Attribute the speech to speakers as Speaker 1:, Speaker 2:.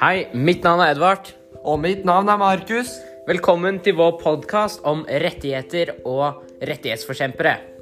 Speaker 1: Hei, mitt navn er Edvard.
Speaker 2: Og mitt navn er Markus.
Speaker 1: Velkommen til vår podkast om rettigheter og rettighetsforkjempere.